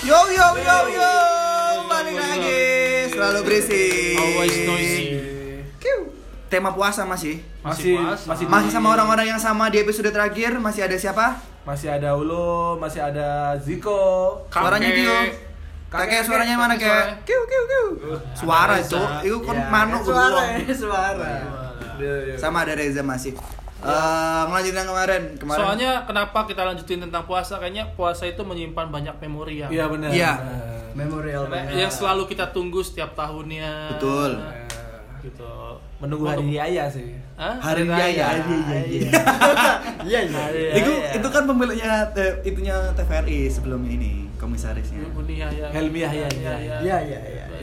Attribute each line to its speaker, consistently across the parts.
Speaker 1: Yo yo yo yo, balik lagi. Selalu berisik.
Speaker 2: Always noisy.
Speaker 1: Kiu. Tema puasa masih.
Speaker 3: Masih
Speaker 2: Masih puasa.
Speaker 3: masih di-
Speaker 1: Masih sama orang-orang yang sama di episode terakhir masih ada siapa?
Speaker 3: masih ada Ulo, masih ada Ziko.
Speaker 2: Kakek.
Speaker 1: Suaranya Dio. Kakek
Speaker 2: Kakek,
Speaker 1: suaranya mana
Speaker 2: kakek
Speaker 1: kek?
Speaker 2: suaranya.
Speaker 1: Kiu kiu kiu. Suara
Speaker 2: Reza. Iya.
Speaker 1: itu, itu kan
Speaker 3: Ya,
Speaker 1: manuk
Speaker 3: suara,
Speaker 1: gua.
Speaker 3: ya, suara. Iya, iya.
Speaker 1: Sama ada Reza masih. Eh, ngelanjutin yang kemarin, kemarin.
Speaker 2: Iya. Soalnya kenapa kita lanjutin tentang puasa? Kayaknya puasa itu menyimpan banyak memori yang
Speaker 3: Iya benar.
Speaker 1: Iya.
Speaker 3: Memorial
Speaker 2: yang selalu kita tunggu setiap tahunnya.
Speaker 1: Betul.
Speaker 3: Iya.
Speaker 2: Gitu.
Speaker 3: Menunggu
Speaker 2: Untuk-
Speaker 3: hari raya sih.
Speaker 2: Hah?
Speaker 1: Hari Raya.
Speaker 3: Iya iya.
Speaker 1: Itu itu kan pemiliknya eh, itunya TVRI sebelum ini komisarisnya.
Speaker 2: Buni Yahya.
Speaker 3: Helmi Yahya. Iya iya iya.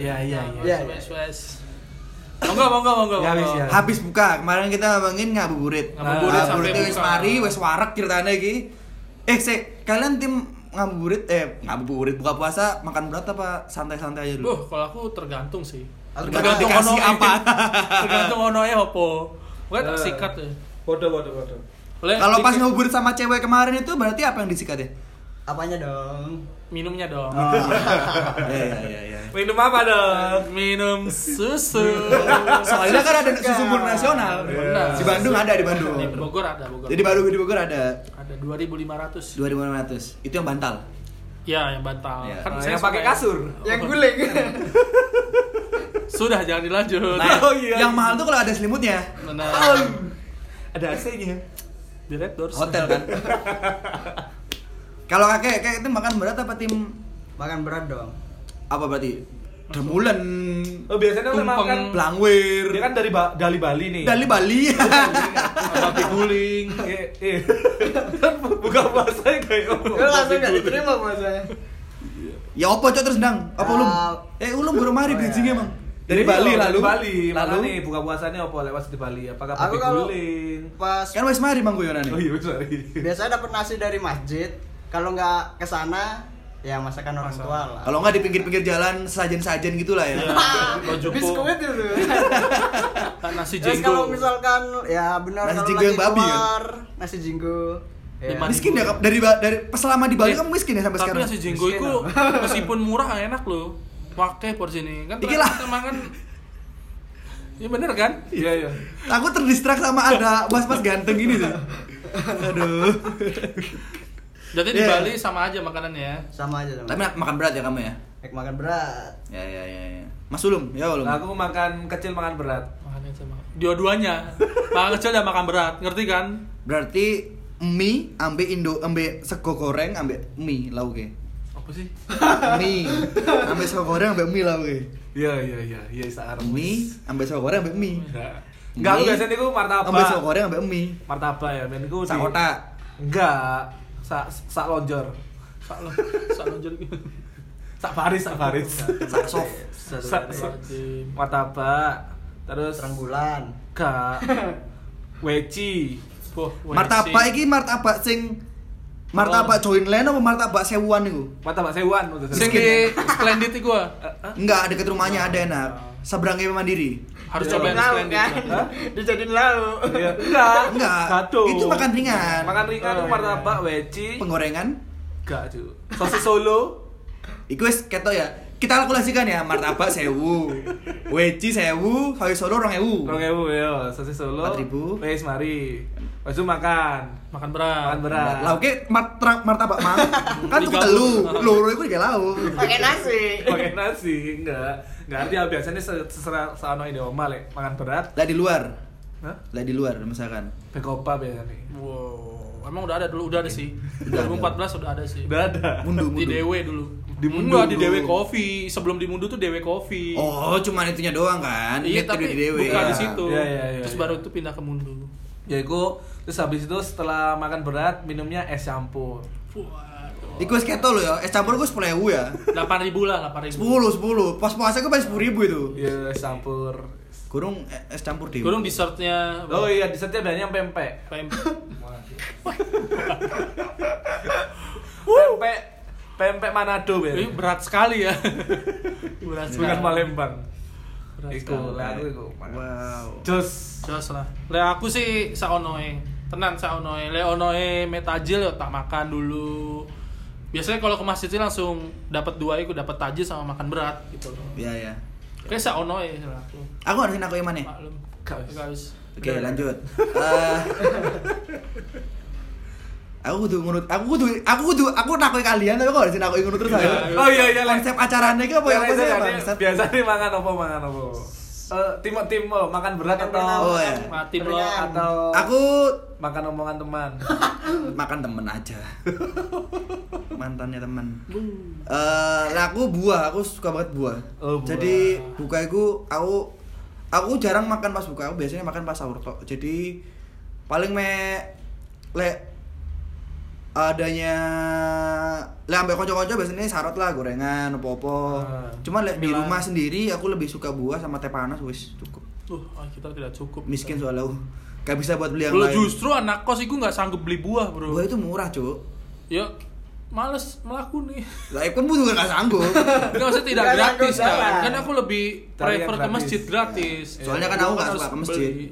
Speaker 3: Iya iya iya.
Speaker 2: Iya, Monggo, monggo, monggo.
Speaker 3: Ya,
Speaker 2: monggo.
Speaker 3: wis, ya.
Speaker 1: Habis buka, kemarin kita ngomongin ngabuburit.
Speaker 2: Ngabuburit sampai
Speaker 1: itu wis
Speaker 2: buka.
Speaker 1: mari, wis warak ceritanya iki. Eh, sik, kalian tim ngabuburit eh ngabuburit buka puasa makan berat apa santai-santai aja
Speaker 2: Duh,
Speaker 1: dulu?
Speaker 2: kalau aku tergantung sih.
Speaker 1: Tergantung
Speaker 2: Tergantung ono
Speaker 1: dikasih apa.
Speaker 2: apa. tergantung ono e opo. Gue tak
Speaker 3: Eh.
Speaker 2: sikat ya.
Speaker 3: Bodoh bodoh bodoh.
Speaker 2: Oleh
Speaker 1: Kalau pas
Speaker 2: dikit-
Speaker 1: ngabuburit sama cewek kemarin itu berarti apa yang disikat ya?
Speaker 4: Apanya dong?
Speaker 2: minumnya dong.
Speaker 3: Ah.
Speaker 1: Iya, iya, iya, iya.
Speaker 3: Minum apa dong?
Speaker 2: Minum susu.
Speaker 1: Soalnya kan ada susu bur nasional.
Speaker 2: Benar.
Speaker 1: Di Bandung ada di Bandung.
Speaker 2: Iya. Di Bogor ada, Bogor.
Speaker 1: Jadi baru di Bogor ada
Speaker 2: ada 2500.
Speaker 1: 2500. Itu yang bantal.
Speaker 2: Ya, yang batal.
Speaker 1: Ya.
Speaker 3: Nah,
Speaker 2: saya
Speaker 3: yang pakai
Speaker 2: suka- ya.
Speaker 3: kasur.
Speaker 4: Yang guling.
Speaker 2: Sudah jangan dilanjut.
Speaker 1: Nah,
Speaker 3: Oh, iya.
Speaker 1: yang mahal tuh kalau ada selimutnya.
Speaker 2: Benar.
Speaker 3: Ada AC-nya.
Speaker 2: Di Red Doors.
Speaker 1: Hotel kan. Kalau kakek, kakek itu makan berat apa tim
Speaker 4: Makan berat dong.
Speaker 1: apa berarti demulen
Speaker 3: Oh biasanya
Speaker 2: Tumpeng.
Speaker 3: memang kan
Speaker 1: blangwir
Speaker 3: dia kan dari Ba- dari Bali nih.
Speaker 1: dari Bali
Speaker 2: Babi guling.
Speaker 3: Iya, iya. Buka puasanya kayak oh,
Speaker 4: Lu langsung gak diterima puasanya.
Speaker 1: ya apa cok terus dang apa ulum
Speaker 4: Ah.
Speaker 1: eh ulum baru mari
Speaker 4: Oh,
Speaker 1: di
Speaker 4: ya.
Speaker 1: sini emang dari
Speaker 3: Iya,
Speaker 1: Bali lalu
Speaker 3: dari Bali. Lalu
Speaker 1: lalu
Speaker 3: nih buka puasanya apa lewat di Bali? Apakah pakai
Speaker 4: Aku kalau
Speaker 3: guling?
Speaker 4: pas
Speaker 1: kan wes mari mang Guyonan
Speaker 3: Oh
Speaker 1: nih
Speaker 3: iya, sorry.
Speaker 4: biasanya dapat nasi dari masjid, kalau nggak ke sana ya masakan orang
Speaker 2: Masak.
Speaker 4: tua lah.
Speaker 1: kalau nggak di pinggir-pinggir jalan sajen-sajen gitulah ya
Speaker 4: Ah,
Speaker 2: Baju po.
Speaker 4: biskuit itu.
Speaker 2: Ah, Nasi
Speaker 4: Terus kalau
Speaker 2: jenggo.
Speaker 4: misalkan ya benar
Speaker 1: Nasi
Speaker 4: kalau
Speaker 1: jinggo
Speaker 4: lagi
Speaker 1: yang babi ya?
Speaker 4: keluar, nasi jinggo. Ya.
Speaker 2: Lima
Speaker 1: miskin ya Kak? dari ba- dari selama di Bali kamu miskin ya sampai
Speaker 2: Tapi
Speaker 1: sekarang
Speaker 2: nasi jenggo
Speaker 4: Miskin
Speaker 2: itu meskipun murah enak loh. Pakai porsi ini kan
Speaker 1: Iki
Speaker 2: ternyata
Speaker 1: lah.
Speaker 2: kita makan Ya bener kan?
Speaker 3: Iya, iya.
Speaker 1: aku terdistrak sama ada mas-mas ganteng ini tuh aduh
Speaker 2: Jadi di
Speaker 1: Iya.
Speaker 2: Bali sama aja makanannya.
Speaker 4: Sama aja sama.
Speaker 1: tapi makan berat ya kamu ya
Speaker 4: Naik makan berat.
Speaker 1: ya ya ya, ya. Mas Ulum ya Ulum
Speaker 3: Nah, aku makan kecil makan berat.
Speaker 2: Makannya sama. Dua-duanya. Makan kecil dan makan berat, ngerti kan?
Speaker 1: Berarti mie ambe indo ambe sego goreng ambe mie lauke.
Speaker 2: Apa sih?
Speaker 1: Mie ambe sego goreng ambe mie lauke.
Speaker 3: Iya, iya, iya. Iya, bisa
Speaker 1: Mie ambe sego goreng ambe mie.
Speaker 3: Enggak, aku
Speaker 1: Mie,
Speaker 3: biasanya aku martabak.
Speaker 1: Ambe sego goreng ambe mie.
Speaker 3: Martabak ya, men ku. di-
Speaker 1: Sak otak.
Speaker 3: Enggak. Sak sak lonjor.
Speaker 2: Sak lo, sak lonjor.
Speaker 3: Sak baris, sak baris.
Speaker 1: Sak sof.
Speaker 3: Sak sak martabak. Terus
Speaker 4: Terang bulan.
Speaker 3: enggak. Weci.
Speaker 2: Boh, weh,
Speaker 1: Martabak
Speaker 2: sih.
Speaker 1: iki martabak sing martabak
Speaker 3: Oh.
Speaker 1: join lane apa martabak sewuan iku?
Speaker 3: Martabak sewan untuk
Speaker 2: Sing di Splendid itu gua.
Speaker 1: Enggak, deket
Speaker 3: Oh.
Speaker 1: rumahnya ada enak. Seberangnya Mandiri.
Speaker 2: Harus
Speaker 3: Iya.
Speaker 2: coba yang
Speaker 4: Lauk,
Speaker 2: Splendid.
Speaker 4: kan?
Speaker 2: Hah?
Speaker 4: Dijadiin lauk.
Speaker 3: Iya. Enggak.
Speaker 1: Enggak.
Speaker 3: Gado.
Speaker 1: Itu makan ringan.
Speaker 3: Makan ringan
Speaker 2: Oh, iya.
Speaker 3: martabak weci.
Speaker 1: Penggorengan.
Speaker 3: Enggak, Cu. Sosis Solo.
Speaker 1: Iku wis ketok ya. Kita kalkulasikan ya, martabak sewu, weci sewu, soy solo rong ewu.
Speaker 3: 2000 ya, sosis Solo.
Speaker 1: 4.000.
Speaker 3: Wes mari. Wes itu makan.
Speaker 2: Makan berat.
Speaker 3: Makan berat.
Speaker 1: Lauke mart tra- martabak mang. kan tuh
Speaker 2: Digabung.
Speaker 1: telu, loro iku ya juga lauk.
Speaker 4: Pakai nasi.
Speaker 3: Pakai nasi, enggak. Enggak arti ya, biasanya se- seserah sano ini oma lek makan berat.
Speaker 1: Lah di luar.
Speaker 3: Hah?
Speaker 1: Lah di luar misalkan.
Speaker 3: Bekopa biasanya.
Speaker 2: Wow. Emang udah ada dulu, udah ada sih.
Speaker 1: Udah ada.
Speaker 2: 2014 udah ada sih.
Speaker 3: Udah ada.
Speaker 1: Mundu
Speaker 2: Di
Speaker 1: mundu.
Speaker 2: DW dulu.
Speaker 3: Di Mundu
Speaker 2: Enggak, di
Speaker 3: dulu.
Speaker 2: DW Coffee. Sebelum di Mundu tuh DW Coffee.
Speaker 1: Oh, cuman itunya doang kan.
Speaker 2: Iya,
Speaker 1: Itu
Speaker 2: tapi
Speaker 1: di dewe.
Speaker 2: buka
Speaker 1: Ya.
Speaker 2: di situ.
Speaker 3: Iya, iya, iya,
Speaker 2: Terus
Speaker 3: iya.
Speaker 2: baru itu pindah ke Mundu.
Speaker 3: Ya iku terus habis itu setelah makan berat minumnya es campur.
Speaker 2: Waduh.
Speaker 1: Iku wis ketok lo ya. Es campur gue 10.000 ya.
Speaker 2: 8000 lah, 8000.
Speaker 1: 10 10. Pas puasa gue paling 10.000 itu.
Speaker 3: Ya es campur.
Speaker 1: Kurung eh, es campur dewe.
Speaker 2: Kurung dessertnya
Speaker 3: Oh iya, di setiap banyak pempek.
Speaker 2: PM.
Speaker 3: Pempek pempek Manado
Speaker 2: Ini
Speaker 3: biasanya.
Speaker 2: berat sekali ya. berat sekali.
Speaker 3: Bukan Palembang.
Speaker 2: Berat
Speaker 3: Iku,
Speaker 2: sekali.
Speaker 3: lah aku iku.
Speaker 1: Wow.
Speaker 3: Jos.
Speaker 2: Jos lah. Le aku sih saonoe. Tenan saonoe. Le onoe metajil yo tak makan ya, dulu. Biasanya kalau ke masjid sih langsung dapat dua itu dapat tajil sama makan berat gitu loh.
Speaker 1: Iya ya.
Speaker 2: Kayak saono ya istilah aku.
Speaker 1: Aku harusin aku yang mana?
Speaker 2: Maklum.
Speaker 3: Kaus.
Speaker 2: Kaus.
Speaker 1: Oke lanjut. Eh, aku kudu ngurut, aku kudu, aku kudu, aku nakoi kalian tapi kok harusin aku ngurut terus ayo.
Speaker 3: Oh iya iya. Lek.
Speaker 1: Konsep acaranya ki apa ya apa sih
Speaker 3: Biasanya-
Speaker 1: bangsat?
Speaker 3: Biasanya makan apa makan apa? Eh, tim tim oh, makan berat
Speaker 4: Makan
Speaker 3: atau
Speaker 1: Oh, iya.
Speaker 2: Mati lo.
Speaker 4: Berenang.
Speaker 3: atau
Speaker 1: Aku
Speaker 3: makan omongan teman.
Speaker 1: makan temen aja. Mantannya temen. Eh, lah aku buah, aku suka banget buah.
Speaker 3: Oh, buah.
Speaker 1: Jadi buka itu aku aku jarang makan pas buka, aku biasanya makan pas sahur tok. Jadi paling me le adanya le ambek kanca-kanca biasanya sarot lah gorengan opo-opo.
Speaker 3: Ah.
Speaker 1: Cuman lek di
Speaker 3: Cemilan.
Speaker 1: rumah sendiri aku lebih suka buah sama teh panas wis cukup.
Speaker 2: Tuh, ah, kita tidak cukup.
Speaker 1: Miskin soalnya aku. Gak bisa buat beli yang
Speaker 2: Lo
Speaker 1: lain.
Speaker 2: justru anak kos itu nggak sanggup beli buah
Speaker 1: Buah
Speaker 2: bro.
Speaker 1: itu murah, Cuk.
Speaker 2: Ya males melaku nih.
Speaker 1: Lah kan bu juga gak sanggup.
Speaker 2: Enggak maksudnya tidak
Speaker 4: Nggak
Speaker 2: gratis
Speaker 4: sanggup
Speaker 2: kan.
Speaker 4: jalan.
Speaker 2: Kan aku lebih
Speaker 3: Cari yang
Speaker 2: prefer ke
Speaker 3: gratis.
Speaker 2: masjid gratis.
Speaker 1: Ya. Soalnya kan aku nggak
Speaker 2: Harus
Speaker 1: suka ke masjid.
Speaker 2: beli.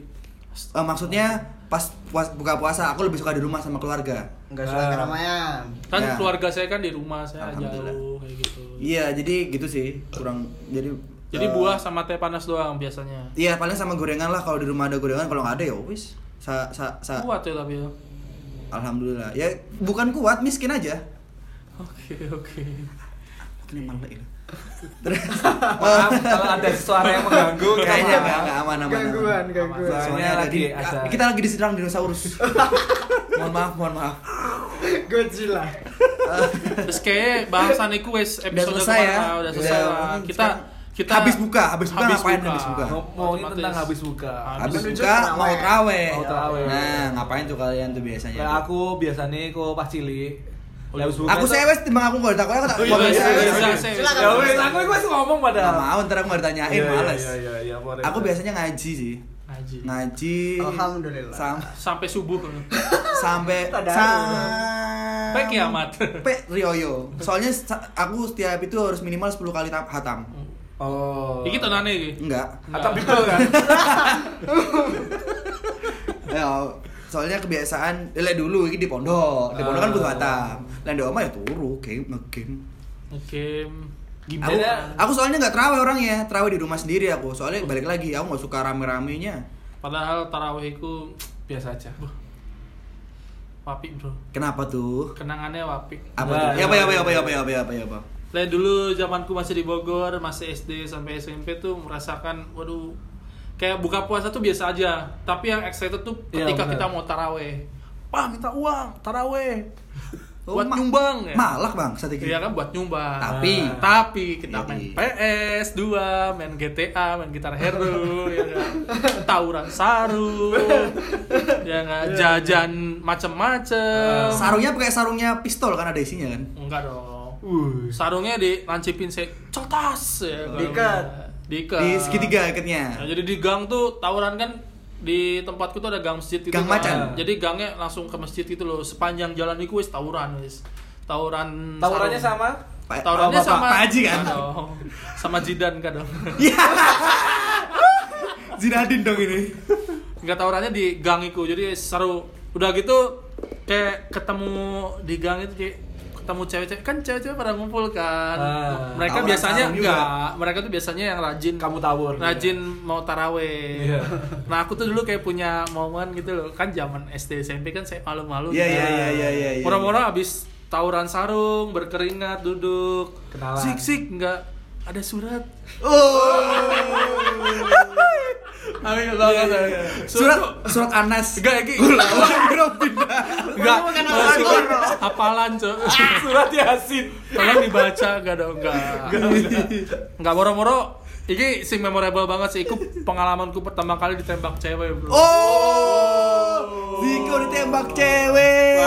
Speaker 1: Eh, maksudnya pas puas, buka puasa aku lebih suka di rumah sama keluarga.
Speaker 4: Enggak suka
Speaker 3: Ah.
Speaker 4: keramaian.
Speaker 2: Kan
Speaker 1: Ya.
Speaker 2: keluarga saya kan di rumah saya
Speaker 1: Alhamdulillah.
Speaker 2: jauh kayak gitu.
Speaker 1: Iya, jadi gitu sih. Kurang jadi eh,
Speaker 2: Jadi buah sama teh panas doang biasanya.
Speaker 1: Iya, paling sama gorengan lah kalau di rumah ada gorengan, kalau nggak ada ya wis. Sa sa sa
Speaker 2: Kuat ya tapi ya.
Speaker 1: alhamdulillah. Ya bukan kuat, miskin aja.
Speaker 2: Oke oke.
Speaker 1: Ini malah ini. Terus eh,
Speaker 3: Maaf kalau ada suara yang mengganggu
Speaker 1: kayaknya
Speaker 3: maaf.
Speaker 1: nggak nggak aman aman.
Speaker 4: Gangguan,
Speaker 1: aman.
Speaker 4: gangguan.
Speaker 1: Soalnya
Speaker 3: Soalnya
Speaker 1: lagi
Speaker 3: lagi ada-
Speaker 1: kita lagi diserang dinosaurus. mohon maaf, mohon maaf.
Speaker 4: Godzilla.
Speaker 2: Terus kayak bahasan itu wes episode
Speaker 1: selesai ya?
Speaker 2: kemarin, udah selesai
Speaker 1: Udah,
Speaker 2: lah.
Speaker 1: mungkin
Speaker 2: Kita
Speaker 1: sekarang
Speaker 2: kita
Speaker 1: habis buka, habis buka ngapain habis buka?
Speaker 3: Ngomongin tentang
Speaker 2: Otomatis.
Speaker 3: habis buka.
Speaker 1: Habis
Speaker 4: Menuju
Speaker 1: buka
Speaker 4: terawih.
Speaker 1: mau traweh.
Speaker 3: Mau terawih.
Speaker 1: Nah, ngapain tuh kalian tuh biasanya?
Speaker 3: Lah aku biasanya kok pas cilik. Lah,
Speaker 2: iya.
Speaker 3: habis buka
Speaker 1: aku
Speaker 3: tuh-
Speaker 1: saya wes timbang aku nggak takut aku tak
Speaker 2: Oh, iya,
Speaker 1: ngomong
Speaker 2: iya,
Speaker 1: saya
Speaker 2: iya,
Speaker 1: wes.
Speaker 2: iya.
Speaker 4: Silakan.
Speaker 3: Ya wes aku gue ngomong
Speaker 1: Nggak
Speaker 3: padahal.
Speaker 1: mau ntar aku nggak ditanyain Iya, males.
Speaker 3: Iya iya iya. boleh.
Speaker 1: Aku biasanya ngaji sih.
Speaker 2: Ngaji.
Speaker 1: Ngaji.
Speaker 4: Alhamdulillah.
Speaker 1: sam-
Speaker 2: Sampai subuh.
Speaker 1: Oh. sampai
Speaker 4: Tadarus.
Speaker 1: sampai
Speaker 2: Sampai kiamat.
Speaker 1: Sampai Rioyo. Soalnya sa- aku setiap itu harus minimal 10 kali tam- hatam.
Speaker 3: Oh.
Speaker 2: Iki tenane iki.
Speaker 1: Enggak.
Speaker 3: Atau people kan?
Speaker 1: Ya, soalnya kebiasaan lek dulu ini di pondok. Di pondok kan
Speaker 3: Ah.
Speaker 1: butuh hatam. Lah di omah ya turu game ngegame.
Speaker 2: Oke.
Speaker 1: Aku,
Speaker 2: Gimana?
Speaker 1: aku soalnya nggak terawih orangnya, terawih di rumah sendiri aku. Soalnya balik lagi, aku nggak suka rame-ramenya.
Speaker 2: Padahal tarawih itu
Speaker 3: Biasa aja.
Speaker 2: wapi bro.
Speaker 1: Kenapa tuh?
Speaker 2: Kenangannya wapi.
Speaker 1: apa
Speaker 3: Nah,
Speaker 1: tuh? Ya
Speaker 3: iya,
Speaker 1: apa ya apa
Speaker 3: iya,
Speaker 1: ya apa ya
Speaker 3: iya.
Speaker 1: apa ya apa ya apa ya apa
Speaker 2: Lah dulu zamanku masih di Bogor, masih SD sampai SMP tuh merasakan waduh kayak buka puasa tuh biasa aja, tapi yang excited tuh
Speaker 3: Iya,
Speaker 2: ketika
Speaker 3: benar.
Speaker 2: kita mau taraweh. Pak, minta uang, taraweh.
Speaker 1: Oh,
Speaker 2: buat
Speaker 1: ma-
Speaker 2: nyumbang ya.
Speaker 1: malak bang satu
Speaker 2: Iya kan buat nyumbang. Nah,
Speaker 1: Tapi.
Speaker 2: tapi kita
Speaker 1: Iya,
Speaker 2: main
Speaker 1: iya.
Speaker 2: PS 2, main GTA, main gitar hero, ya kan. Tawuran sarung, ya kan jajan macem-macem.
Speaker 1: sarungnya pakai sarungnya pistol kan ada isinya kan
Speaker 2: Enggak dong.
Speaker 3: Wuh.
Speaker 2: sarungnya dilancipin se celtas ya kalau
Speaker 4: Diikat.
Speaker 2: nggak. diikat
Speaker 1: di segitiga
Speaker 2: Nah,
Speaker 1: ikatnya
Speaker 2: jadi di gang tuh tawuran kan di tempatku tuh ada gang masjid gitu
Speaker 1: Gang
Speaker 2: kan.
Speaker 1: macan.
Speaker 2: jadi gangnya langsung ke masjid gitu loh sepanjang jalan itu wis tawuran wis tawuran
Speaker 3: Tawurannya
Speaker 2: sarung.
Speaker 3: sama?
Speaker 1: Pa-
Speaker 2: tawurannya
Speaker 1: Pak-
Speaker 2: sama
Speaker 1: Pak Haji kan
Speaker 2: Nggak dong. sama jidan kan dong
Speaker 1: Iya. Zinadin dong ini
Speaker 2: nggak tawurannya di gang itu jadi seru udah gitu kayak ketemu di gang itu kayak ketemu cewek-cewek kan cewek-cewek pada ngumpul kan
Speaker 3: Ah.
Speaker 2: mereka
Speaker 1: Tawuran
Speaker 2: biasanya
Speaker 1: sarung juga.
Speaker 2: enggak mereka tuh biasanya yang rajin
Speaker 3: Kamu tawur.
Speaker 2: rajin mau taraweh.
Speaker 3: Iya.
Speaker 2: Nah aku tuh dulu kayak punya momen gitu loh, kan zaman SD SMP kan saya malu-malu.
Speaker 1: iya
Speaker 2: gitu.
Speaker 1: iya iya iya iya iya.
Speaker 2: Murah-murah abis tawuran sarung, berkeringat, duduk.
Speaker 3: Kenalan.
Speaker 2: Sik sik nggak ada surat. Oh. Amin banget.
Speaker 3: Iya, iya,
Speaker 2: Iya,
Speaker 1: surat surat Anas
Speaker 2: Enggak, Ki. Enggak,
Speaker 4: Ini bukan
Speaker 2: Kalau
Speaker 4: apaan,
Speaker 2: surat,
Speaker 4: Bro.
Speaker 2: hafalan, Cok.
Speaker 3: Surat Yasin.
Speaker 2: Tolong dibaca, enggak dong, enggak. Enggak moro-moro Iki sing memorable banget sih, iku pengalamanku pertama kali ditembak cewek bro
Speaker 1: oh Ziko ditembak cewek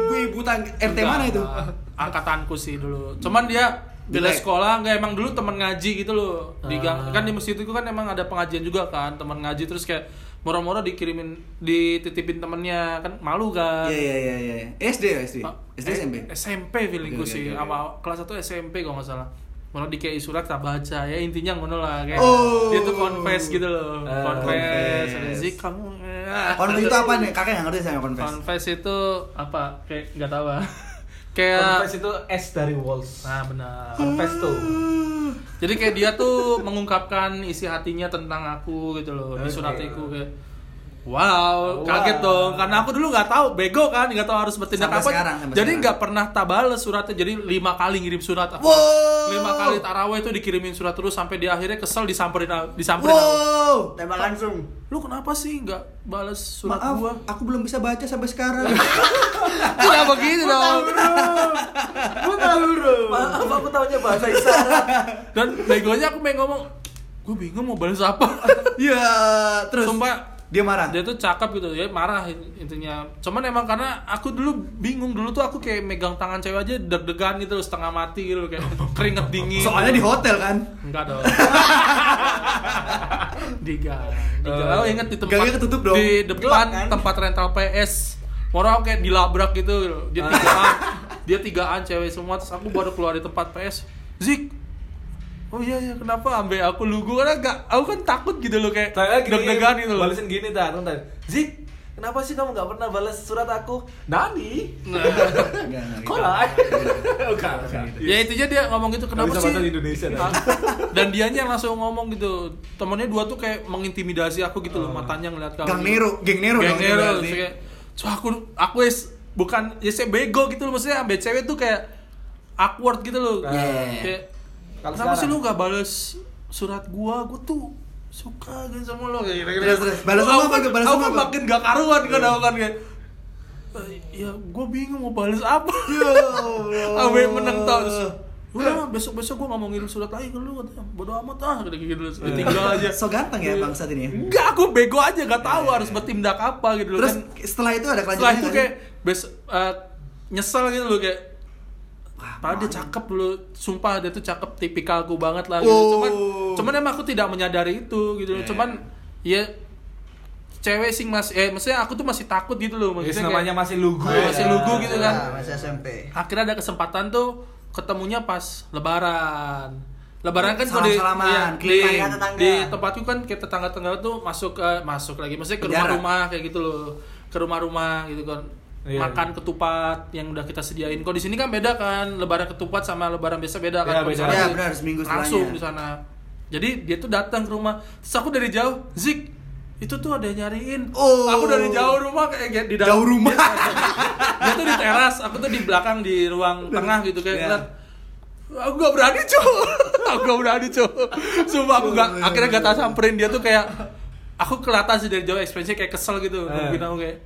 Speaker 1: ibu-ibu tang eh, RT mana itu ya?
Speaker 2: Enggak, angkatanku sih dulu cuman dia bela
Speaker 1: Jelek.
Speaker 2: sekolah nggak emang dulu teman ngaji gitu loh di
Speaker 3: Ah.
Speaker 2: gang- kan di masjid itu kan emang ada pengajian juga kan teman ngaji terus kayak moro-moro dikirimin dititipin temennya kan malu kan
Speaker 1: iya iya iya iya SD ya SD
Speaker 2: Ma-
Speaker 1: SD
Speaker 2: eh,
Speaker 1: SMP
Speaker 2: SMP feelingku
Speaker 1: Oke, oke, oke,
Speaker 2: sih
Speaker 1: oke.
Speaker 2: sama kelas 1 SMP kalau nggak salah Malah dikei surat tak baca ya intinya ngono lah kayak
Speaker 1: Oh.
Speaker 2: dia tuh confess gitu loh
Speaker 3: Ah,
Speaker 2: confess,
Speaker 1: confess.
Speaker 2: Rizik kamu ya. eh,
Speaker 1: Konfes itu apa nih kakek nggak ngerti saya konfes
Speaker 2: Confess itu apa? Kayak nggak tahu ah. kayak
Speaker 3: Confess itu S dari Walls.
Speaker 2: nah benar
Speaker 3: Confess tuh.
Speaker 1: Hmm.
Speaker 2: jadi kayak dia tuh mengungkapkan isi hatinya tentang aku gitu loh di suratiku kayak
Speaker 1: Oh,
Speaker 2: Wow,
Speaker 3: Wow.
Speaker 2: kaget dong. Karena aku dulu nggak tahu, bego kan, nggak tahu harus bertindak
Speaker 1: Sampai
Speaker 2: apa.
Speaker 1: sekarang, sampai
Speaker 2: jadi
Speaker 1: sekarang.
Speaker 2: nggak pernah tabales suratnya. Jadi lima kali ngirim surat. aku.
Speaker 1: Wow.
Speaker 2: Lima kali taraweh itu dikirimin surat terus sampai dia akhirnya kesel disamperin, disamperin. aku.
Speaker 1: Wow.
Speaker 4: Tembak langsung.
Speaker 2: Lu kenapa sih nggak balas surat
Speaker 1: Maaf,
Speaker 2: gua?
Speaker 1: aku belum bisa baca sampai sekarang.
Speaker 2: Tidak begitu dong.
Speaker 4: Gua tahu bro.
Speaker 3: Maaf, aku tahunya bahasa isyarat.
Speaker 2: Dan begonya aku pengen ngomong, gue bingung mau balas apa.
Speaker 1: ya, terus
Speaker 2: Sumpah
Speaker 1: dia marah.
Speaker 2: dia tuh cakep gitu ya marah intinya cuman emang karena aku dulu bingung dulu tuh aku kayak megang tangan cewek aja deg-degan gitu loh, setengah mati gitu loh, kayak keringet dingin
Speaker 1: Soalnya di hotel kan.
Speaker 2: enggak dong di gang di gang
Speaker 3: Eh,
Speaker 2: oh, inget di tempat
Speaker 1: gangnya ketutup dong.
Speaker 2: di depan
Speaker 4: Gelap kan?
Speaker 2: tempat rental PS orang kayak dilabrak gitu loh. dia tigaan dia tigaan cewek semua terus aku baru keluar di tempat PS Zik Oh iya iya kenapa ambe aku lu gue kan agak aku kan takut gitu loh kayak deg-degan gitu loh.
Speaker 3: Balesin gini tar, ntar. Zik, kenapa sih kamu nggak pernah balas surat aku? Nani?
Speaker 2: Nah.
Speaker 1: Enggak, enggak gitu.
Speaker 3: Kolai. Bukan, bukan. Iya,
Speaker 2: ya intinya dia ngomong gitu kenapa
Speaker 3: bisa
Speaker 2: sih
Speaker 3: bahasa di Indonesia, kan? dah.
Speaker 2: Ah, dan dianya yang langsung ngomong gitu temennya dua tuh kayak mengintimidasi aku
Speaker 3: Ah.
Speaker 2: gitu loh matanya ngeliat kamu
Speaker 1: Gang Nero, geng Nero
Speaker 2: Geng
Speaker 1: dong.
Speaker 2: Nero,
Speaker 1: berarti.
Speaker 2: terus kayak, "Cuk, aku aku es bukan ya saya bego gitu loh maksudnya ambil cewek tuh kayak awkward gitu loh
Speaker 1: Iya.
Speaker 2: kayak
Speaker 3: Nah. Kalau
Speaker 2: kenapa sih
Speaker 3: sekarang?
Speaker 2: lu gak bales surat gua gua tuh suka gitu sama lo kayak gitu
Speaker 1: Terus, terus. Balas sama apa? Balas sama
Speaker 2: aku kan
Speaker 1: apa?
Speaker 2: makin gak karuan kan aku kan kayak "Eh, ya gua bingung mau bales apa
Speaker 1: Ya Allah.
Speaker 2: Awe menang tau terus, Oh. Udah besok besok gue ngomongin surat lagi ke lu katanya bodo amat ah gitu gitu terus
Speaker 1: Eh.
Speaker 2: ditinggal aja.
Speaker 1: So ganteng ya bangsat ini ya.
Speaker 2: Enggak aku bego aja gak tahu harus bertindak apa gitu loh
Speaker 1: Terus
Speaker 2: kan.
Speaker 1: setelah itu ada
Speaker 2: Setelah
Speaker 1: kelanjutannya
Speaker 2: itu
Speaker 1: kan?
Speaker 2: kayak besok eh, nyesel gitu loh kayak Padahal dia cakep dulu, sumpah dia tuh cakep tipikalku banget lah gitu.
Speaker 1: Oh.
Speaker 2: Cuman, cuman emang aku tidak menyadari itu gitu. loh.
Speaker 1: Yeah.
Speaker 2: Cuman ya cewek sing mas, eh maksudnya aku tuh masih takut gitu loh.
Speaker 3: Yes,
Speaker 2: Maksudnya
Speaker 3: namanya
Speaker 2: kayak,
Speaker 3: masih lugu
Speaker 2: Oh, masih lugu gitu kan.
Speaker 4: Nah,
Speaker 3: Iya.
Speaker 4: masih SMP.
Speaker 2: akhirnya ada kesempatan tuh ketemunya pas lebaran lebaran kan kalau
Speaker 1: Salam-salaman,
Speaker 2: di,
Speaker 1: klik
Speaker 2: di,
Speaker 4: tetangga-tetangga.
Speaker 2: di tempatku kan kayak tetangga-tetangga tuh masuk eh, masuk lagi maksudnya ke
Speaker 1: Penjara.
Speaker 2: rumah-rumah kayak gitu loh ke rumah-rumah gitu kan
Speaker 3: Iya,
Speaker 2: makan ketupat yang udah kita sediain kalau di sini kan beda kan lebaran ketupat sama lebaran biasa beda kan
Speaker 3: Iya,
Speaker 2: Kalau di
Speaker 3: beda.
Speaker 2: sana
Speaker 1: Iya,
Speaker 2: tuh
Speaker 1: benar, seminggu
Speaker 2: langsung
Speaker 1: setelahnya.
Speaker 2: di sana jadi dia tuh datang ke rumah terus aku dari jauh Zik itu tuh ada yang nyariin
Speaker 1: Oh.
Speaker 2: aku dari jauh rumah kayak kayak di dalam
Speaker 1: jauh rumah.
Speaker 2: dia tuh di teras, aku tuh di belakang di ruang tengah gitu
Speaker 1: Iya.
Speaker 2: kayak ngeliat, Aku gak berani cuy, aku gak berani cuy. Sumpah aku gak,
Speaker 1: Iya,
Speaker 2: akhirnya gak tak samperin dia tuh kayak, aku kelihatan sih dari jauh ekspresinya kayak kesel gitu.
Speaker 1: Iya.
Speaker 3: Eh.
Speaker 2: Mungkin aku kayak,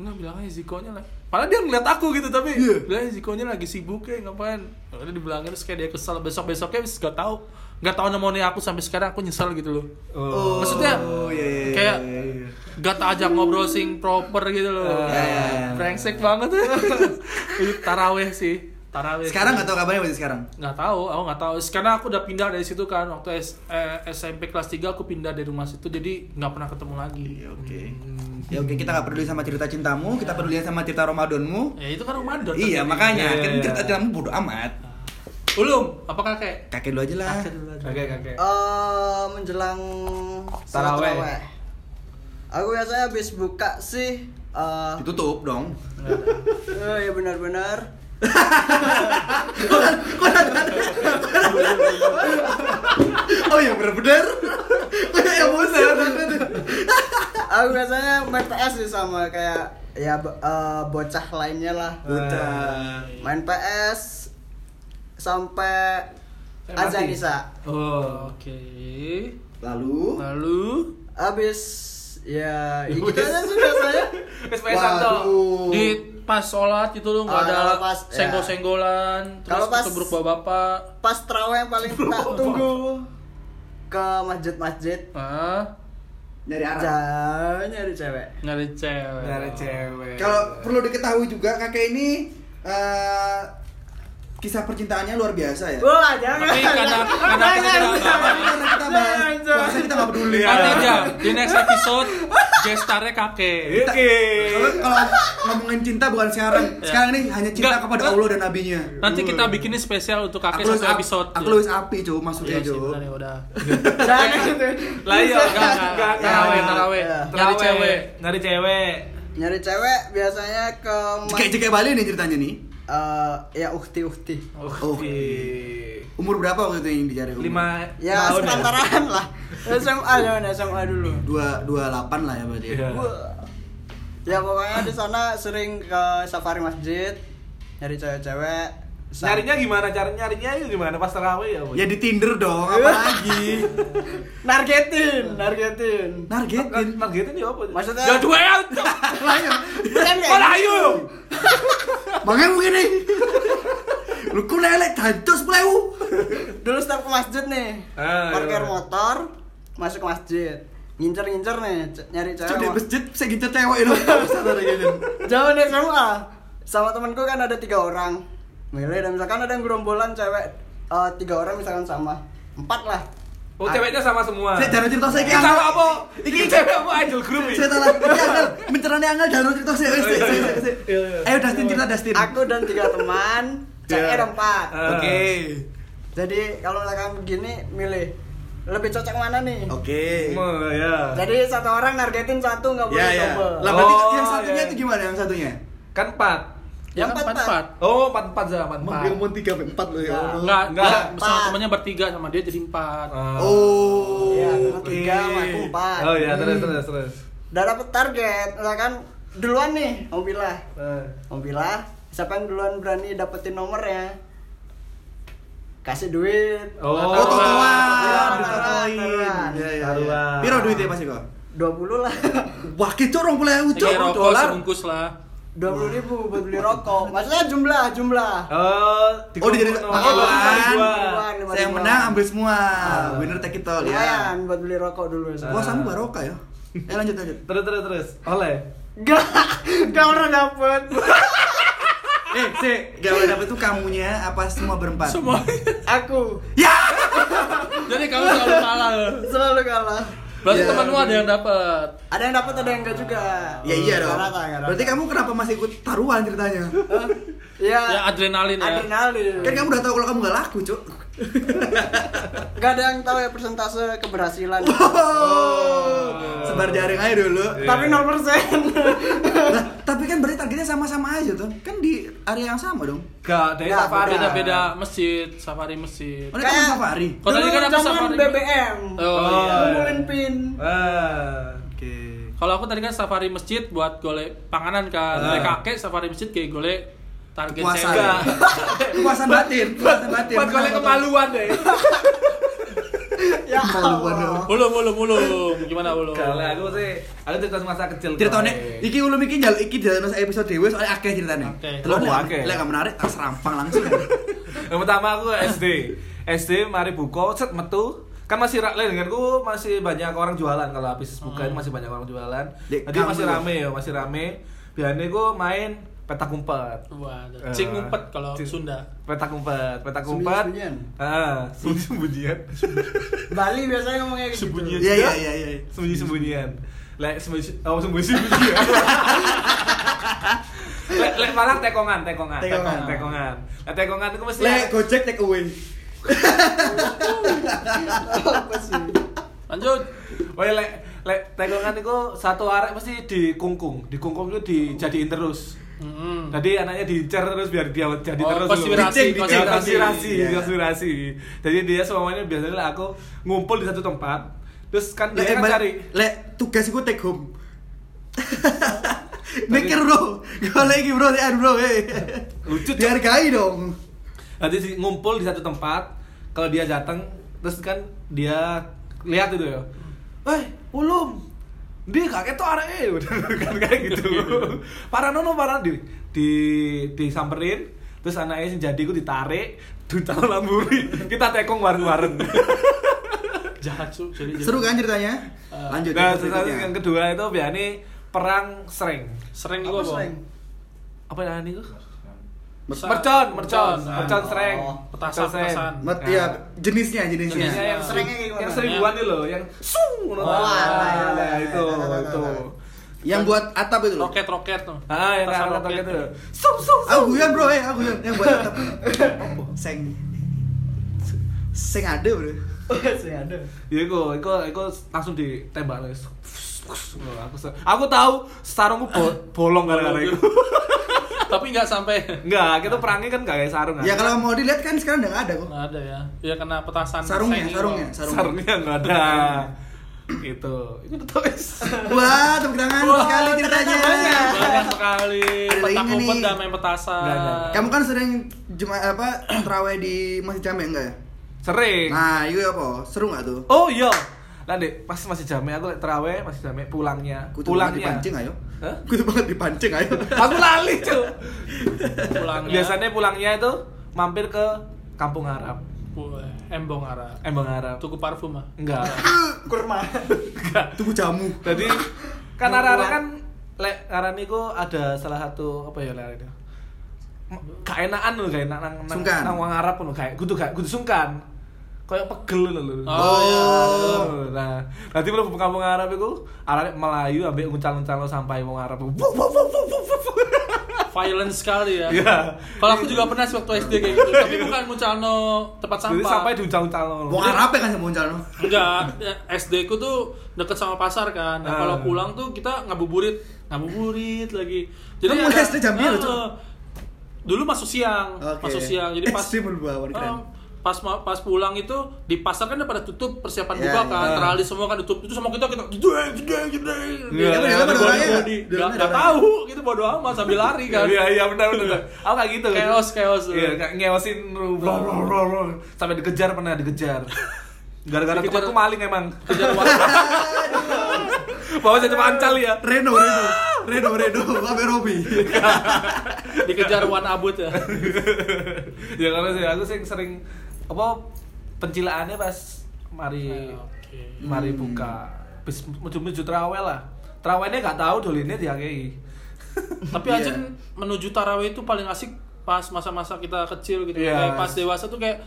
Speaker 2: nggak bilang aja Zikonya lah. Padahal dia ngeliat aku gitu tapi
Speaker 1: Iya.
Speaker 2: bilang aja Zikonya lagi sibuk ya ngapain. Udah dibilangin terus kayak dia kesel besok besoknya wis gak tahu, gak tahu namanya aku sampai sekarang aku nyesel gitu loh.
Speaker 1: Oh,
Speaker 2: Maksudnya,
Speaker 1: iya, iya, iya,
Speaker 2: kayak-
Speaker 1: iya, iya.
Speaker 2: Gak tak ajak ngobrol sing proper gitu
Speaker 1: Iya,
Speaker 2: loh.
Speaker 1: iya, iya.
Speaker 2: Brengsek banget. Itu taraweh sih. Taraweh.
Speaker 1: sekarang nggak tahu kabarnya berarti sekarang.
Speaker 2: nggak tahu, aku nggak tahu. Karena aku udah pindah dari situ kan waktu S- eh, SMP kelas 3 aku pindah dari rumah situ jadi nggak pernah ketemu lagi.
Speaker 1: Iya, Oke. Ya oke, kita nggak peduli sama cerita cintamu, kita peduli sama cerita Ramadanmu.
Speaker 2: Ya itu kan
Speaker 1: Iya,
Speaker 2: Ramadan. terjadi.
Speaker 1: makanya
Speaker 3: Iya,
Speaker 1: kan
Speaker 3: iya,
Speaker 1: cerita
Speaker 3: iya.
Speaker 1: cintamu bodo amat.
Speaker 2: Ulum, apa kakek?
Speaker 1: Kakek dulu aja lah.
Speaker 2: Kakek dulu aja.
Speaker 3: Kakek kakek.
Speaker 4: Eh menjelang sholat
Speaker 3: Taraweh.
Speaker 4: Aku biasanya habis buka sih eh
Speaker 1: Ditutup dong.
Speaker 2: Gitu.
Speaker 4: eh, ya benar-benar
Speaker 1: Oh iya bener-bener. Iya, Kayak emosi.
Speaker 4: aku biasanya main PS sih sama kayak ya bo- eh, bocah lainnya lah
Speaker 1: Udah.
Speaker 4: main PS sampai
Speaker 3: Eh, mati.
Speaker 4: azan isya
Speaker 3: Oh.
Speaker 2: Oke.
Speaker 1: Lalu
Speaker 2: Lalu
Speaker 4: habis ya, ya gitu aja sih biasanya
Speaker 3: SPS Santo.
Speaker 2: di pas sholat gitu loh nggak
Speaker 4: Ah,
Speaker 2: ada
Speaker 4: kalau pas, ya.
Speaker 2: senggol-senggolan, terus
Speaker 4: Kalau pas-
Speaker 2: ketubruk bapak-bapak.
Speaker 4: pas terawih yang paling tak tunggu ke masjid-masjid
Speaker 2: Ah,
Speaker 1: nyari arah.
Speaker 4: jauh nyari cewek
Speaker 2: nggak ada cewek.
Speaker 3: Dari cewek.
Speaker 1: Kalau perlu diketahui juga kakek ini eh, kisah percintaannya luar biasa ya.
Speaker 4: Wah, jangan.
Speaker 2: Tapi kan- karena- karena kita
Speaker 4: Jangan,
Speaker 2: tidak-
Speaker 4: jangan.
Speaker 1: Karena kita bahas, bahasa kita nggak peduli.
Speaker 4: Iya.
Speaker 2: Nanti aja di next episode gestarnya
Speaker 4: Iya.
Speaker 2: kakek.
Speaker 3: Oke.
Speaker 1: Kalau kalau ngomongin cinta bukan sekarang. Sekarang ini hanya cinta
Speaker 2: Nggak.
Speaker 1: kepada Allah dan nabinya.
Speaker 2: Nanti kita bikinnya spesial untuk kakek satu
Speaker 1: ap-
Speaker 2: episode.
Speaker 1: aku
Speaker 2: Ya.
Speaker 1: lulus api, cuy, maksudnya,
Speaker 2: Iya sih,
Speaker 1: cuy.
Speaker 2: benar ya udah.
Speaker 4: Jangan gitu.
Speaker 3: Lah iya, enggak
Speaker 2: Enggak, enggak,
Speaker 3: enggak
Speaker 2: enggak.
Speaker 3: enggak.
Speaker 2: Taraweh, taraweh.
Speaker 4: Iya.
Speaker 2: Nyari cewek.
Speaker 3: Nyari cewek.
Speaker 4: Nyari cewek biasanya ke
Speaker 1: Kayak
Speaker 4: mas-
Speaker 1: cekek Bali nih ceritanya nih.
Speaker 4: eh ya ukti-ukti.
Speaker 1: Oh.
Speaker 3: Oke.
Speaker 1: Umur berapa waktu itu yang dicari? Umur?
Speaker 3: Lima
Speaker 4: Ya
Speaker 3: tahun
Speaker 4: sepantaran lah. SMA jangan SMA dulu.
Speaker 1: Dua dua delapan lah ya berarti.
Speaker 3: Iya.
Speaker 1: ya
Speaker 4: Ya pokoknya di sana sering ke safari masjid nyari cewek-cewek. Sa-
Speaker 3: Nyarinya gimana? Cara nyarinya itu gimana? Pas terawih ya, Bu?
Speaker 1: Ya di Tinder dong, apa lagi?
Speaker 4: nargetin, nargetin.
Speaker 1: Nargetin.
Speaker 3: Nargetin ya apa?
Speaker 4: Maksudnya
Speaker 2: Ya duel.
Speaker 4: bukan kayak
Speaker 2: Malah
Speaker 4: gitu.
Speaker 2: ayo.
Speaker 1: Mangan begini. Lu ku lelek dantos plewu.
Speaker 4: Dulu setiap ke masjid nih.
Speaker 3: Ah,
Speaker 4: parkir
Speaker 3: iya.
Speaker 4: motor, masuk ke masjid. Ngincer-ngincer nih, c- nyari
Speaker 1: Cuk di
Speaker 4: cewek.
Speaker 1: masjid saya gitu tewek itu.
Speaker 4: Zaman SMA ah. sama temanku kan ada tiga orang. Milih dan misalkan ada yang gerombolan cewek eh, tiga orang misalkan sama empat lah.
Speaker 3: Oh, ceweknya sama semua.
Speaker 1: Saya jangan cerita saya
Speaker 3: Ini
Speaker 1: kayak
Speaker 3: sama
Speaker 1: angel.
Speaker 3: apa? Ini cewek apa idol group ini?
Speaker 1: Saya tahu lah, ini angel, mencerane angel jangan cerita saya. wes, wes, wes, wes.
Speaker 3: Oh, Iya, iya.
Speaker 1: Ayo Dustin cerita Dustin.
Speaker 4: Aku dan tiga teman, cewek ada empat.
Speaker 3: Ah.
Speaker 1: Oke.
Speaker 4: Jadi kalau misalkan begini milih lebih cocok mana nih?
Speaker 1: Oke.
Speaker 3: Oh, ya.
Speaker 4: Jadi satu orang nargetin satu
Speaker 3: Iya,
Speaker 4: nggak boleh
Speaker 1: Ya ya.
Speaker 4: double.
Speaker 1: Lah berarti
Speaker 3: Oh,
Speaker 1: yang satunya
Speaker 3: iya.
Speaker 1: itu gimana yang satunya?
Speaker 3: Kan 4.
Speaker 4: Yang empat, empat.
Speaker 3: Oh, 4 4 Zah, 4
Speaker 1: Dia mau 3 4 loh ya.
Speaker 4: Nah.
Speaker 1: Allah.
Speaker 2: Enggak, enggak.
Speaker 3: Enggak.
Speaker 2: Sama
Speaker 4: Empat. Ah.
Speaker 2: temannya bertiga sama dia jadi empat.
Speaker 1: Oh.
Speaker 4: Iya,
Speaker 1: oke.
Speaker 4: tiga sama aku empat.
Speaker 3: Oh iya, terus terus terus.
Speaker 4: Udah dapet target, misalkan duluan nih, Om Bila.
Speaker 3: Eh.
Speaker 4: Om Bila, siapa yang duluan berani dapetin nomornya? Kasih duit.
Speaker 1: Oh,
Speaker 3: Oh,
Speaker 4: Iya,
Speaker 1: totoan,
Speaker 4: taruhan,
Speaker 1: ditotoin.
Speaker 4: taruhan.
Speaker 1: Iya, iya.
Speaker 3: Taruhan.
Speaker 1: Piro duitnya pasti kok?
Speaker 4: 20 lah.
Speaker 1: Wah, kita orang pula
Speaker 2: Tiga
Speaker 1: ucap
Speaker 2: rokok
Speaker 1: dolar.
Speaker 2: sebungkus lah.
Speaker 4: 20 ribu buat beli rokok. Maksudnya jumlah, jumlah.
Speaker 3: Oh,
Speaker 1: Oh, dia jadi
Speaker 3: Oh,
Speaker 4: pakai
Speaker 3: dua.
Speaker 4: dua.
Speaker 1: Dua. Saya yang menang ambil semua. Winner take it all ya.
Speaker 4: Lumayan buat beli rokok dulu.
Speaker 3: Ah.
Speaker 1: Wah, sama barokah ya. Eh lanjut lanjut.
Speaker 3: Terus terus terus. Oleh.
Speaker 4: Gak, gak pernah dapet.
Speaker 1: Eh, si, gak boleh dapet tuh kamunya apa semua berempat? Ya!
Speaker 2: Semua.
Speaker 4: Aku
Speaker 2: Jadi kamu selalu kalah.
Speaker 4: selalu kalah.
Speaker 2: Berarti
Speaker 4: Iya.
Speaker 1: Ya.
Speaker 2: temanmu ada yang dapat.
Speaker 4: Ada yang dapat, ada yang enggak juga.
Speaker 1: Ya iya
Speaker 3: Oh,
Speaker 1: dong.
Speaker 4: Gak rata, gak rata.
Speaker 1: Berarti kamu kenapa masih ikut taruhan ceritanya?
Speaker 4: Hah? Iya.
Speaker 2: Ya adrenalin ya.
Speaker 4: adrenalin.
Speaker 1: Kan kamu udah tahu kalau kamu gak laku, Cuk.
Speaker 4: Gak ada yang tahu ya persentase keberhasilan.
Speaker 1: Sebar jaring aja dulu.
Speaker 4: Tapi 0%
Speaker 1: Lah, tapi kan berarti targetnya sama-sama aja tuh. Kan di area yang sama dong.
Speaker 3: Gak, dari
Speaker 4: Nggak,
Speaker 3: apa ada
Speaker 2: Beda-beda
Speaker 4: Ah.
Speaker 2: masjid, safari masjid.
Speaker 1: Mana
Speaker 4: Kayak-
Speaker 1: kamu safari?
Speaker 2: Kok tadi kan aku
Speaker 4: zaman
Speaker 2: safari.
Speaker 4: BBM.
Speaker 2: Oh,
Speaker 3: Oh.
Speaker 2: iya.
Speaker 4: Ngumpulin pin.
Speaker 1: Eh.
Speaker 3: Ah.
Speaker 1: Oke.
Speaker 2: Kalau aku tadi kan safari masjid buat golek panganan kan.
Speaker 3: Ah.
Speaker 2: Golek kakek safari masjid kayak golek target
Speaker 1: Puasa.
Speaker 2: cewek.
Speaker 1: ya? Puasa batin, puasa batin.
Speaker 3: Buat kalian kemaluan deh.
Speaker 2: eh.
Speaker 4: Ya
Speaker 1: Kemaluan dong.
Speaker 4: Allah.
Speaker 2: Ulum, ulum, ulum. Gimana ulum?
Speaker 3: Kalau aku sih, aku cerita masa kecil.
Speaker 1: Ceritane
Speaker 3: Kak.
Speaker 1: iki ulum iki jal iki jalan masa episode dewe soalnya akeh ceritane.
Speaker 2: Oke.
Speaker 1: Telur
Speaker 3: Oh,
Speaker 1: lek
Speaker 3: akeh.
Speaker 1: lek gak menarik tak serampang langsung.
Speaker 3: Yang pertama aku SD. SD mari buka, set metu. Kan masih ra- lain denganku masih banyak orang jualan kalau habis buka itu masih banyak orang jualan.
Speaker 1: Dek,
Speaker 3: Jadi masih
Speaker 1: Hmm. kamu.
Speaker 3: rame ya, masih rame. Biasanya aku main petak umpet.
Speaker 2: Waduh.
Speaker 3: Eh,
Speaker 2: Cing ngumpet kalau
Speaker 3: cing-
Speaker 2: Sunda.
Speaker 3: Petak umpet, petak umpet. Ah,
Speaker 4: Sembunyi-sembunyian.
Speaker 3: Heeh, sembunyi-sembunyian.
Speaker 4: Bali biasanya ngomongnya gitu.
Speaker 3: Sembunyi.
Speaker 1: Iya iya iya iya.
Speaker 3: Sembunyi-sembunyian. Lek sembunyi oh sembunyi-sembunyian. Lek lek malah tekongan,
Speaker 1: Tekongan.
Speaker 3: tekongan, tekongan, tekongan. Lek tekongan itu mesti
Speaker 1: Lek Gojek take away.
Speaker 4: Apa sih?
Speaker 2: Lanjut.
Speaker 3: Woi lek lek tekongan itu satu arek mesti dikungkung, dikungkung itu dijadiin terus.
Speaker 2: Mm-mm.
Speaker 3: Jadi anaknya diincar terus biar dia jadi
Speaker 2: Hmm. Oh,
Speaker 3: terus.
Speaker 2: konspirasi,
Speaker 3: Diceng, diceng,
Speaker 2: konspirasi.
Speaker 3: konspirasi,
Speaker 1: Iya.
Speaker 3: konspirasi. Jadi dia semuanya biasanya lah aku ngumpul di satu tempat. Terus kan
Speaker 1: Lek
Speaker 3: dia kan
Speaker 1: balik-
Speaker 3: cari.
Speaker 1: lek tugas iku take home. Mikir bro, kalau lagi bro, ya bro, eh.
Speaker 3: Lucu, Cuk.
Speaker 1: dihargai dong.
Speaker 3: Nanti si- ngumpul di satu tempat. Kalau dia datang, terus kan dia lihat itu ya. Eh, ulum. Dia kakek tuh arek kan kayak gitu. Paranono parano di di disamperin terus anaknya sing jadi ku ditarik, ditaruh lamburi. Kita tekong warung-warung.
Speaker 2: Jahat su. Jadi
Speaker 1: Seru kan ceritanya? Lanjut. yang
Speaker 3: Nah, terus nanti yang
Speaker 1: berikutnya.
Speaker 3: kedua itu biasanya perang sering.
Speaker 2: Sering
Speaker 4: Apa
Speaker 2: gua,
Speaker 4: slang?
Speaker 2: Bang.
Speaker 3: Apa namanya itu?
Speaker 2: Mercon.
Speaker 3: Mercon, mercon,
Speaker 2: ya, Mercon.
Speaker 3: mercon
Speaker 2: Oh.
Speaker 3: sering.
Speaker 2: Petasan,
Speaker 3: Mercon sering.
Speaker 2: petasan.
Speaker 1: Mat- ya, jenisnya
Speaker 3: Nah,
Speaker 1: jenisnya.
Speaker 2: Jenisnya.
Speaker 3: yang sering
Speaker 4: Serengnya kayak gimana?
Speaker 3: yang seribuan itu loh, yang sung ngono.
Speaker 4: Wah,
Speaker 3: Wah,
Speaker 4: ya, ya,
Speaker 3: nah,
Speaker 4: ya,
Speaker 3: itu,
Speaker 4: ya, ya, ya, ya.
Speaker 3: itu.
Speaker 1: Yang buat atap itu loh.
Speaker 2: Roket, roket tuh.
Speaker 3: Ah, yang
Speaker 2: Petasan
Speaker 3: kata kata
Speaker 2: roket.
Speaker 3: gitu. Sung sung sung.
Speaker 1: Aku guyon bro, eh aku guyon yang buat atap. Seng. Seng ada bro.
Speaker 3: Nah.
Speaker 4: Sih ada.
Speaker 3: Ya iku, iku, iku langsung ditembak lagi. Aku, se- aku tahu sarungku bo- bolong gara-gara itu.
Speaker 2: tapi nggak sampai
Speaker 3: Enggak, kita perangnya kan gak kayak sarung
Speaker 1: ya
Speaker 3: kan?
Speaker 1: kalau mau dilihat kan sekarang udah nggak ada kok
Speaker 2: nggak ada ya ya kena petasan
Speaker 1: sarungnya
Speaker 2: sengil.
Speaker 1: sarungnya sarungnya,
Speaker 3: Nah, Sarungnya nggak ada. Itu. Itu udah tau es.
Speaker 1: wah tepuk tangan
Speaker 2: Wah,
Speaker 1: sekali ceritanya
Speaker 2: banyak sekali
Speaker 1: Ada
Speaker 2: petak
Speaker 1: ini
Speaker 2: umpet
Speaker 1: nih.
Speaker 2: dan main petasan
Speaker 3: Nggak, nggak.
Speaker 1: kamu kan sering jema apa terawih di masjid jamek enggak ya
Speaker 3: Sering.
Speaker 1: nah itu apa seru nggak tuh
Speaker 3: Oh iya. Lah Dek, pas masih jamet aku lek terawih masih jamet pulangnya.
Speaker 1: Kudu banget
Speaker 3: pulangnya.
Speaker 1: dipancing ayo
Speaker 3: Hah?
Speaker 1: Kudu banget dipancing ayo
Speaker 3: Aku lali, Cuk. kan
Speaker 2: pulangnya
Speaker 3: Biasanya pulangnya itu mampir ke Kampung Arab.
Speaker 2: Wah, embong arah
Speaker 3: Embang Arab.
Speaker 2: tuku parfum ah
Speaker 3: Enggak.
Speaker 4: kurma
Speaker 1: Tunggu jamu
Speaker 3: Jadi kan arah-arah kan lek arah niku ada salah satu apa ya lek itu. Kaenaan lho, kaenak nang nang
Speaker 1: Sungkan.
Speaker 3: nang wong Arab lho, kayak kudu kayak kudu sungkan. Kayak pegel lho. lho.
Speaker 2: Oh, iya.
Speaker 3: Nah, nanti mlebu kampung Arab iku arane Melayu ambek nguncal-nguncal sampai wong Arab. Wuh, wuh, wuh, wuh, wuh, wuh.
Speaker 2: violent sekali ya
Speaker 3: Iya.
Speaker 2: kalau aku juga pernah sih waktu SD kayak gitu tapi bukan muncalno tempat
Speaker 3: Jadi
Speaker 2: sampah
Speaker 3: sampai diuncal-uncal.
Speaker 1: Wong Arab ya kan sama Uncal no?
Speaker 2: Enggak, ya, SD ku tuh deket sama pasar kan. Nah,
Speaker 3: Ah.
Speaker 2: kalau pulang tuh kita ngabuburit, ngabuburit lagi.
Speaker 1: Kamu
Speaker 2: ada-
Speaker 1: SD jam biru,
Speaker 2: Ah,
Speaker 1: Cok?
Speaker 2: Dulu masuk siang,
Speaker 1: Oke.
Speaker 2: masuk siang. Jadi pas
Speaker 1: SD berbawan, keren.
Speaker 2: Ah, pas ma- pas pulang itu di pasar kan udah pada tutup persiapan
Speaker 1: Iya,
Speaker 2: buka
Speaker 1: iya.
Speaker 2: kan, terali semua kan tutup. Itu sama kita kita gede gede gede.
Speaker 3: Iya,
Speaker 2: eh, Gitu,
Speaker 3: di
Speaker 2: gitu,
Speaker 3: dalam ada
Speaker 2: body-
Speaker 1: orangnya nggak?
Speaker 2: body.
Speaker 1: Di dalam
Speaker 2: Nggak-
Speaker 1: ada
Speaker 2: nggak
Speaker 1: orangnya.
Speaker 2: tahu, gitu bodo amat sambil lari kan.
Speaker 3: Iya iya benar benar. Aku kayak gitu.
Speaker 2: Chaos, chaos.
Speaker 3: Iya, kayak ngeosin rumah. Sampai dikejar pernah dikejar. Gara-gara
Speaker 2: Dikejar.
Speaker 3: tempatku maling emang.
Speaker 2: Kejar waktu.
Speaker 3: Bawa jadi pancal ya.
Speaker 1: Reno Reno Reno Reno Babe Robi
Speaker 2: dikejar wan abut ya.
Speaker 3: ya karena sih aku sering sering apa pencilaannya pas mari
Speaker 2: Oke.
Speaker 3: mari buka. Bis menuju-menuju terawih lah. Terawihnya nggak tahu dolinnya diakei.
Speaker 2: Tapi
Speaker 1: Iya.
Speaker 2: anjing menuju tarawih itu paling asik pas masa-masa kita kecil gitu.
Speaker 3: Iya.
Speaker 2: Kayak pas dewasa tuh kayak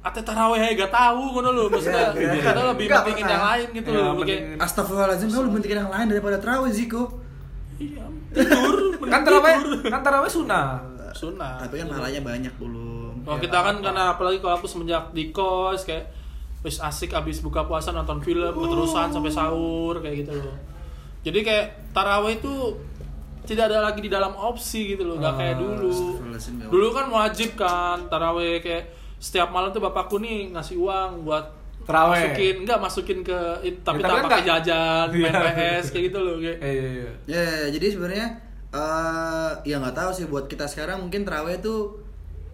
Speaker 2: ate tarawih ae gak tahu ngono lho. Maksudnya
Speaker 1: Iya, iya.
Speaker 2: kita lebih
Speaker 4: Nggak
Speaker 2: pentingin
Speaker 4: pernah.
Speaker 2: yang lain gitu
Speaker 3: Iya,
Speaker 2: loh. Kayak
Speaker 3: mending-
Speaker 1: Astagfirullahaladzim kamu lebih penting yang lain daripada terawih Ziko
Speaker 2: iya, tidur, mending
Speaker 3: Kan terawih
Speaker 2: tidur.
Speaker 3: kan terawih sunah.
Speaker 2: Sunah.
Speaker 1: Tapi kan malahnya banyak belum Iya,
Speaker 2: Oh,
Speaker 3: Ya,
Speaker 2: kita kan
Speaker 3: apa-apa.
Speaker 2: karena apalagi kalau aku semenjak di kos kayak wis asik abis buka puasa nonton film keterusan sampai sahur kayak gitu loh. Jadi kayak tarawih itu tidak ada lagi di dalam opsi gitu loh, nggak kayak dulu.
Speaker 1: Astagfirullahaladzim, ya Allah.
Speaker 2: Dulu kan wajib kan tarawih kayak setiap malam tuh bapakku nih ngasih uang buat
Speaker 3: Tarawih.
Speaker 2: masukin nggak masukin ke it- tapi
Speaker 3: Ya, tapi
Speaker 2: tak
Speaker 3: kan
Speaker 2: pakai
Speaker 3: nggak-
Speaker 2: jajan main
Speaker 3: Iya.
Speaker 2: PS kayak gitu loh kayak
Speaker 3: Iya iya iya.
Speaker 1: Ya, ya, jadi sebenarnya eh ya nggak tahu sih buat kita sekarang mungkin terawih itu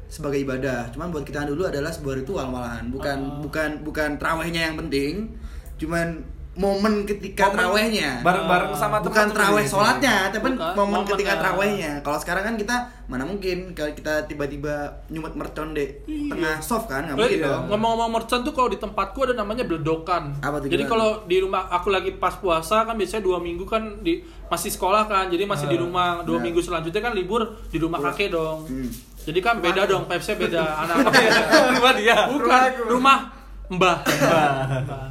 Speaker 1: sebagai ibadah. Cuman buat kita dulu adalah sebuah ritual malahan. Bukan bukan bukan terawihnya yang penting, cuman momen ketika
Speaker 3: Momen
Speaker 1: terawihnya.
Speaker 3: Bareng-bareng
Speaker 1: bukan
Speaker 3: sama teman-teman
Speaker 1: terawih
Speaker 3: sendiri.
Speaker 1: sholatnya, tapi
Speaker 2: Bukan,
Speaker 1: momen
Speaker 2: momennya.
Speaker 1: ketika terawihnya. Kalau sekarang kan kita mana mungkin kalau kita tiba-tiba nyumet mercon deh tengah soft kan nggak mungkin
Speaker 2: Eh,
Speaker 1: dong.
Speaker 2: Ngomong-ngomong mercon tuh kalau di tempatku ada namanya bledokan.
Speaker 1: Apa tuh
Speaker 2: Jadi
Speaker 1: gimana?
Speaker 2: kalau di rumah aku lagi pas puasa kan biasanya dua minggu kan di masih sekolah kan, jadi masih di
Speaker 3: Ah,
Speaker 2: rumah. Dua
Speaker 1: benar.
Speaker 2: minggu selanjutnya kan libur di rumah kakek dong.
Speaker 1: Hmm.
Speaker 2: Jadi kan beda dong, vibes-nya beda. Anak-anak beda.
Speaker 3: Iya, Cuma dia.
Speaker 2: Bukan rumah mbah. Mbah.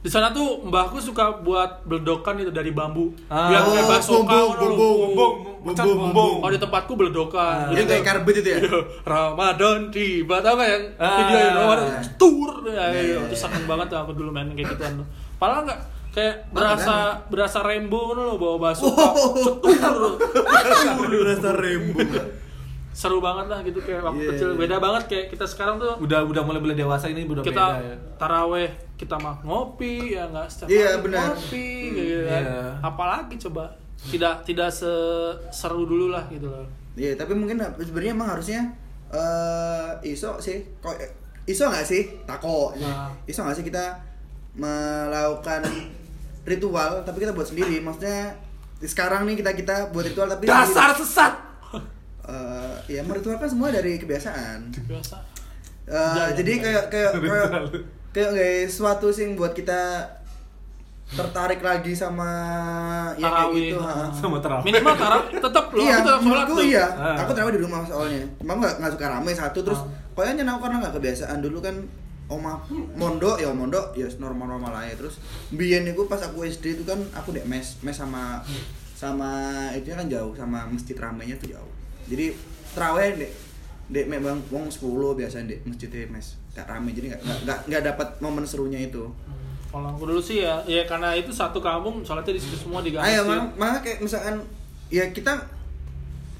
Speaker 2: Di sana tuh mbahku suka buat bledokan itu dari bambu.
Speaker 3: Ah.
Speaker 2: Biar
Speaker 1: Oh,
Speaker 2: kayak basoka
Speaker 1: bumbung,
Speaker 2: gitu loh.
Speaker 1: bumbung,
Speaker 3: Bumbung, bumbung, bumbung.
Speaker 2: Kalau di tempatku bledokan.
Speaker 1: Yang kayak
Speaker 2: kayak-
Speaker 1: karbit itu ya.
Speaker 2: Iya, Ramadan tiba tau gak yang
Speaker 3: Ah.
Speaker 2: video yang Ramadan
Speaker 1: Iya.
Speaker 2: tur
Speaker 1: Iya,
Speaker 2: ya,
Speaker 1: iya,
Speaker 2: iya,
Speaker 1: iya.
Speaker 2: itu seneng banget tuh aku dulu main kayak gituan. Padahal nggak kayak
Speaker 1: Makan,
Speaker 2: berasa berasa rembo kan lo bawa basuh
Speaker 1: Rasa rembu.
Speaker 2: seru banget lah gitu kayak waktu
Speaker 1: Iya,
Speaker 2: kecil
Speaker 1: iya.
Speaker 2: beda banget kayak kita sekarang tuh
Speaker 3: Udah udah mulai mulai dewasa ini udah
Speaker 2: kita
Speaker 3: beda ya.
Speaker 2: taraweh kita mah ngopi ya nggak setiap
Speaker 1: Iya,
Speaker 2: hari
Speaker 1: benar.
Speaker 2: ngopi kayak gitu kan.
Speaker 3: Iya.
Speaker 2: apalagi coba tidak tidak seseru dulu lah gitu loh
Speaker 1: Iya, tapi mungkin sebenarnya emang harusnya eh iso sih. Kok eh, iso nggak sih? Tako.
Speaker 2: Nah.
Speaker 1: Iso nggak sih kita melakukan ritual tapi kita buat sendiri. Maksudnya sekarang nih kita kita buat ritual tapi
Speaker 3: Dasar sesat.
Speaker 1: Eh, ya meritual kan semua dari kebiasaan.
Speaker 2: biasa
Speaker 1: Eh, jadi kayak kayak kayak kayak guys suatu sing buat kita tertarik lagi sama ya kayak
Speaker 2: Tarawih.
Speaker 1: gitu. ha.
Speaker 3: Sama terawih.
Speaker 2: minimal tarawih tetap loh
Speaker 1: iya,
Speaker 2: aku tetap sholat
Speaker 1: menurutku
Speaker 2: tuh.
Speaker 1: iya.
Speaker 3: Ah.
Speaker 1: Aku terawih di rumah soalnya. Emang nggak nggak suka rame satu terus.
Speaker 2: Ah.
Speaker 1: Kayaknya aku karena nggak kebiasaan dulu kan oma mondo ya mondo ya normal normal aja terus biyen itu pas aku SD itu kan aku dek mes mes sama sama itu kan jauh sama masjid ramenya tuh jauh jadi terawih dek dek memang wong 10 biasanya dek masjidnya mes gak rame jadi nggak nggak- nggak nggak dapat momen serunya itu
Speaker 2: Kalau aku dulu sih ya, ya karena itu
Speaker 3: Ah, ya,
Speaker 2: satu kampung sholatnya di situ semua diganti.
Speaker 1: Ayo, maka kayak misalkan ya kita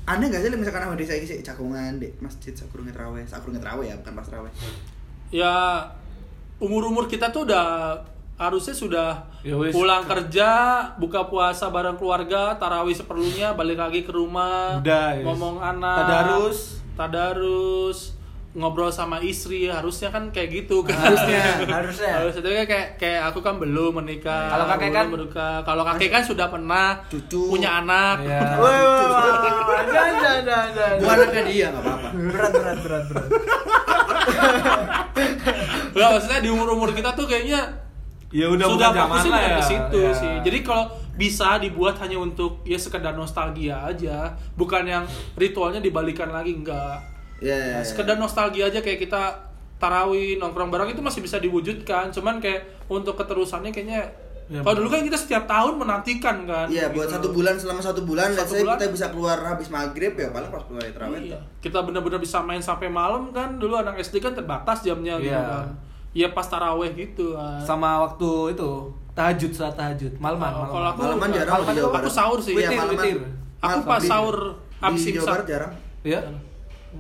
Speaker 1: aneh gak sih misalkan awal desa iki sik jagongan dek masjid sakurunge traweh sakurunge traweh ya bukan pas traweh
Speaker 2: ya umur-umur kita tuh udah harusnya sudah
Speaker 3: Ya wis.
Speaker 2: pulang kerja, buka puasa bareng keluarga, tarawih seperlunya, balik lagi ke rumah,
Speaker 3: Udah, ya wis.
Speaker 2: ngomong anak,
Speaker 3: Tadarus.
Speaker 2: tadarus, ngobrol sama istri, harusnya kan kayak gitu
Speaker 3: Ah,
Speaker 2: kan.
Speaker 4: Harusnya, harusnya.
Speaker 2: Harusnya tapi kan kayak kayak aku kan belum menikah.
Speaker 3: Kalau kakek
Speaker 2: belum
Speaker 3: kan-
Speaker 2: menikah. kalau kakek kan sudah pernah
Speaker 1: Cucu.
Speaker 2: punya anak.
Speaker 3: Iya.
Speaker 4: Wah, wah, wah. Jangan, jangan, jangan, jangan.
Speaker 1: gua anaknya dia gak apa-apa
Speaker 4: Berat, berat, berat, berat.
Speaker 2: Nggak, maksudnya di umur-umur kita tuh kayaknya
Speaker 3: Ya udah
Speaker 2: sudah
Speaker 3: bukan zaman
Speaker 2: fokusnya
Speaker 3: lah
Speaker 2: udah
Speaker 3: ya.
Speaker 2: ke situ
Speaker 3: Ya.
Speaker 2: sih. Jadi kalau bisa dibuat hanya untuk ya sekedar nostalgia aja, bukan yang ritualnya dibalikan lagi enggak.
Speaker 1: ya ya, ya.
Speaker 2: Nah, sekedar nostalgia aja kayak kita tarawih nongkrong bareng itu masih bisa diwujudkan. Cuman kayak untuk keterusannya kayaknya
Speaker 3: Ya,
Speaker 2: kalau dulu kan kita setiap tahun menantikan kan.
Speaker 1: Iya, buat
Speaker 2: Gitu.
Speaker 1: satu bulan selama satu bulan,
Speaker 2: Satu
Speaker 1: let's say
Speaker 2: bulan.
Speaker 1: kita bisa keluar habis maghrib ya paling pas keluar dari terawih.
Speaker 2: Iya.
Speaker 1: tuh.
Speaker 2: Kita benar-benar bisa main sampai malam kan. Dulu anak SD kan terbatas jamnya gitu
Speaker 3: Iya.
Speaker 2: kan. Iya pas tarawih gitu kan.
Speaker 3: sama waktu itu tahajud saat tahajud malaman
Speaker 2: Oh, Kalau
Speaker 3: malaman.
Speaker 2: aku-
Speaker 1: Malaman jarang
Speaker 2: malaman
Speaker 1: di Jawa
Speaker 2: aku
Speaker 1: Barat.
Speaker 2: sahur sih.
Speaker 1: Iya,
Speaker 3: Witir,
Speaker 1: malaman.
Speaker 3: witir.
Speaker 2: Aku
Speaker 1: Mal-
Speaker 2: pas
Speaker 1: di-
Speaker 2: sahur abis
Speaker 1: di Jawa
Speaker 2: imsak.
Speaker 1: Barat jarang.
Speaker 3: ya
Speaker 2: kan.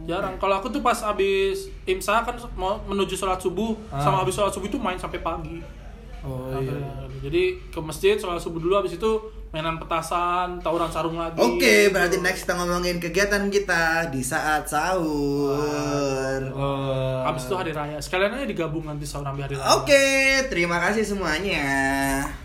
Speaker 2: jarang kalau aku tuh pas abis imsa kan mau menuju sholat subuh
Speaker 3: Ah.
Speaker 2: sama abis sholat subuh itu main sampai pagi
Speaker 3: oh
Speaker 2: Sampai-
Speaker 3: iya
Speaker 2: jadi ke masjid sholat subuh dulu abis itu mainan petasan tawuran sarung lagi
Speaker 1: Oke, berarti next kita ngomongin kegiatan kita di saat sahur.
Speaker 3: Eh,
Speaker 2: abis itu hari raya sekalian aja digabung nanti sahur sampai hari raya
Speaker 1: Oke, terima kasih semuanya.